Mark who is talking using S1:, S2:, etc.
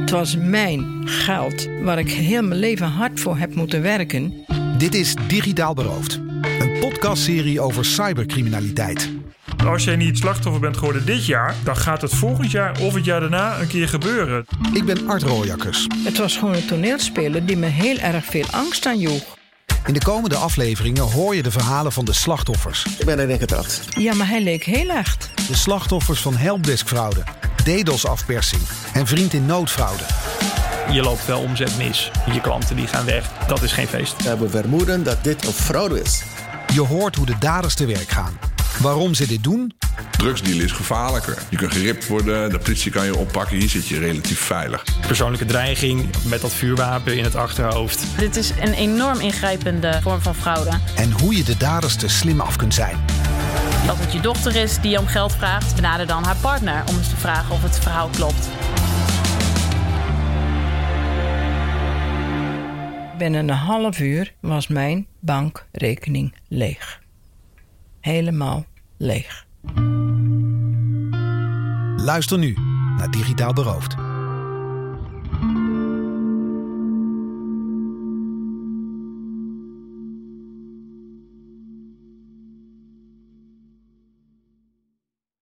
S1: Het was mijn geld waar ik heel mijn leven hard voor heb moeten werken.
S2: Dit is Digitaal Beroofd, een podcastserie over cybercriminaliteit.
S3: Als jij niet slachtoffer bent geworden dit jaar, dan gaat het volgend jaar of het jaar daarna een keer gebeuren.
S2: Ik ben Art Rooijakkers.
S1: Het was gewoon een toneelspeler die me heel erg veel angst aanjoeg.
S2: In de komende afleveringen hoor je de verhalen van de slachtoffers.
S4: Ik ben een dat.
S1: Ja, maar hij leek heel echt.
S2: De slachtoffers van helpdeskfraude, E DDoS-afpersing en vriend in noodfraude.
S5: Je loopt wel omzet mis. Je klanten die gaan weg. Dat is geen feest.
S4: We hebben vermoeden dat dit een fraude is.
S2: Je hoort hoe de daders te werk gaan, waarom ze dit doen
S6: Drugsdeal is gevaarlijker. Je kunt geript worden, de politie kan je oppakken. Hier zit je relatief veilig.
S5: Persoonlijke dreiging met dat vuurwapen in het achterhoofd.
S7: Dit is een enorm ingrijpende vorm van fraude.
S2: en hoe je de daders te slim af kunt zijn.
S7: Als het je dochter is die om geld vraagt, benader dan haar partner om eens te vragen of het verhaal klopt.
S1: Binnen een half uur was mijn bankrekening leeg. Helemaal leeg.
S2: Luister nu naar Digitaal Beroofd.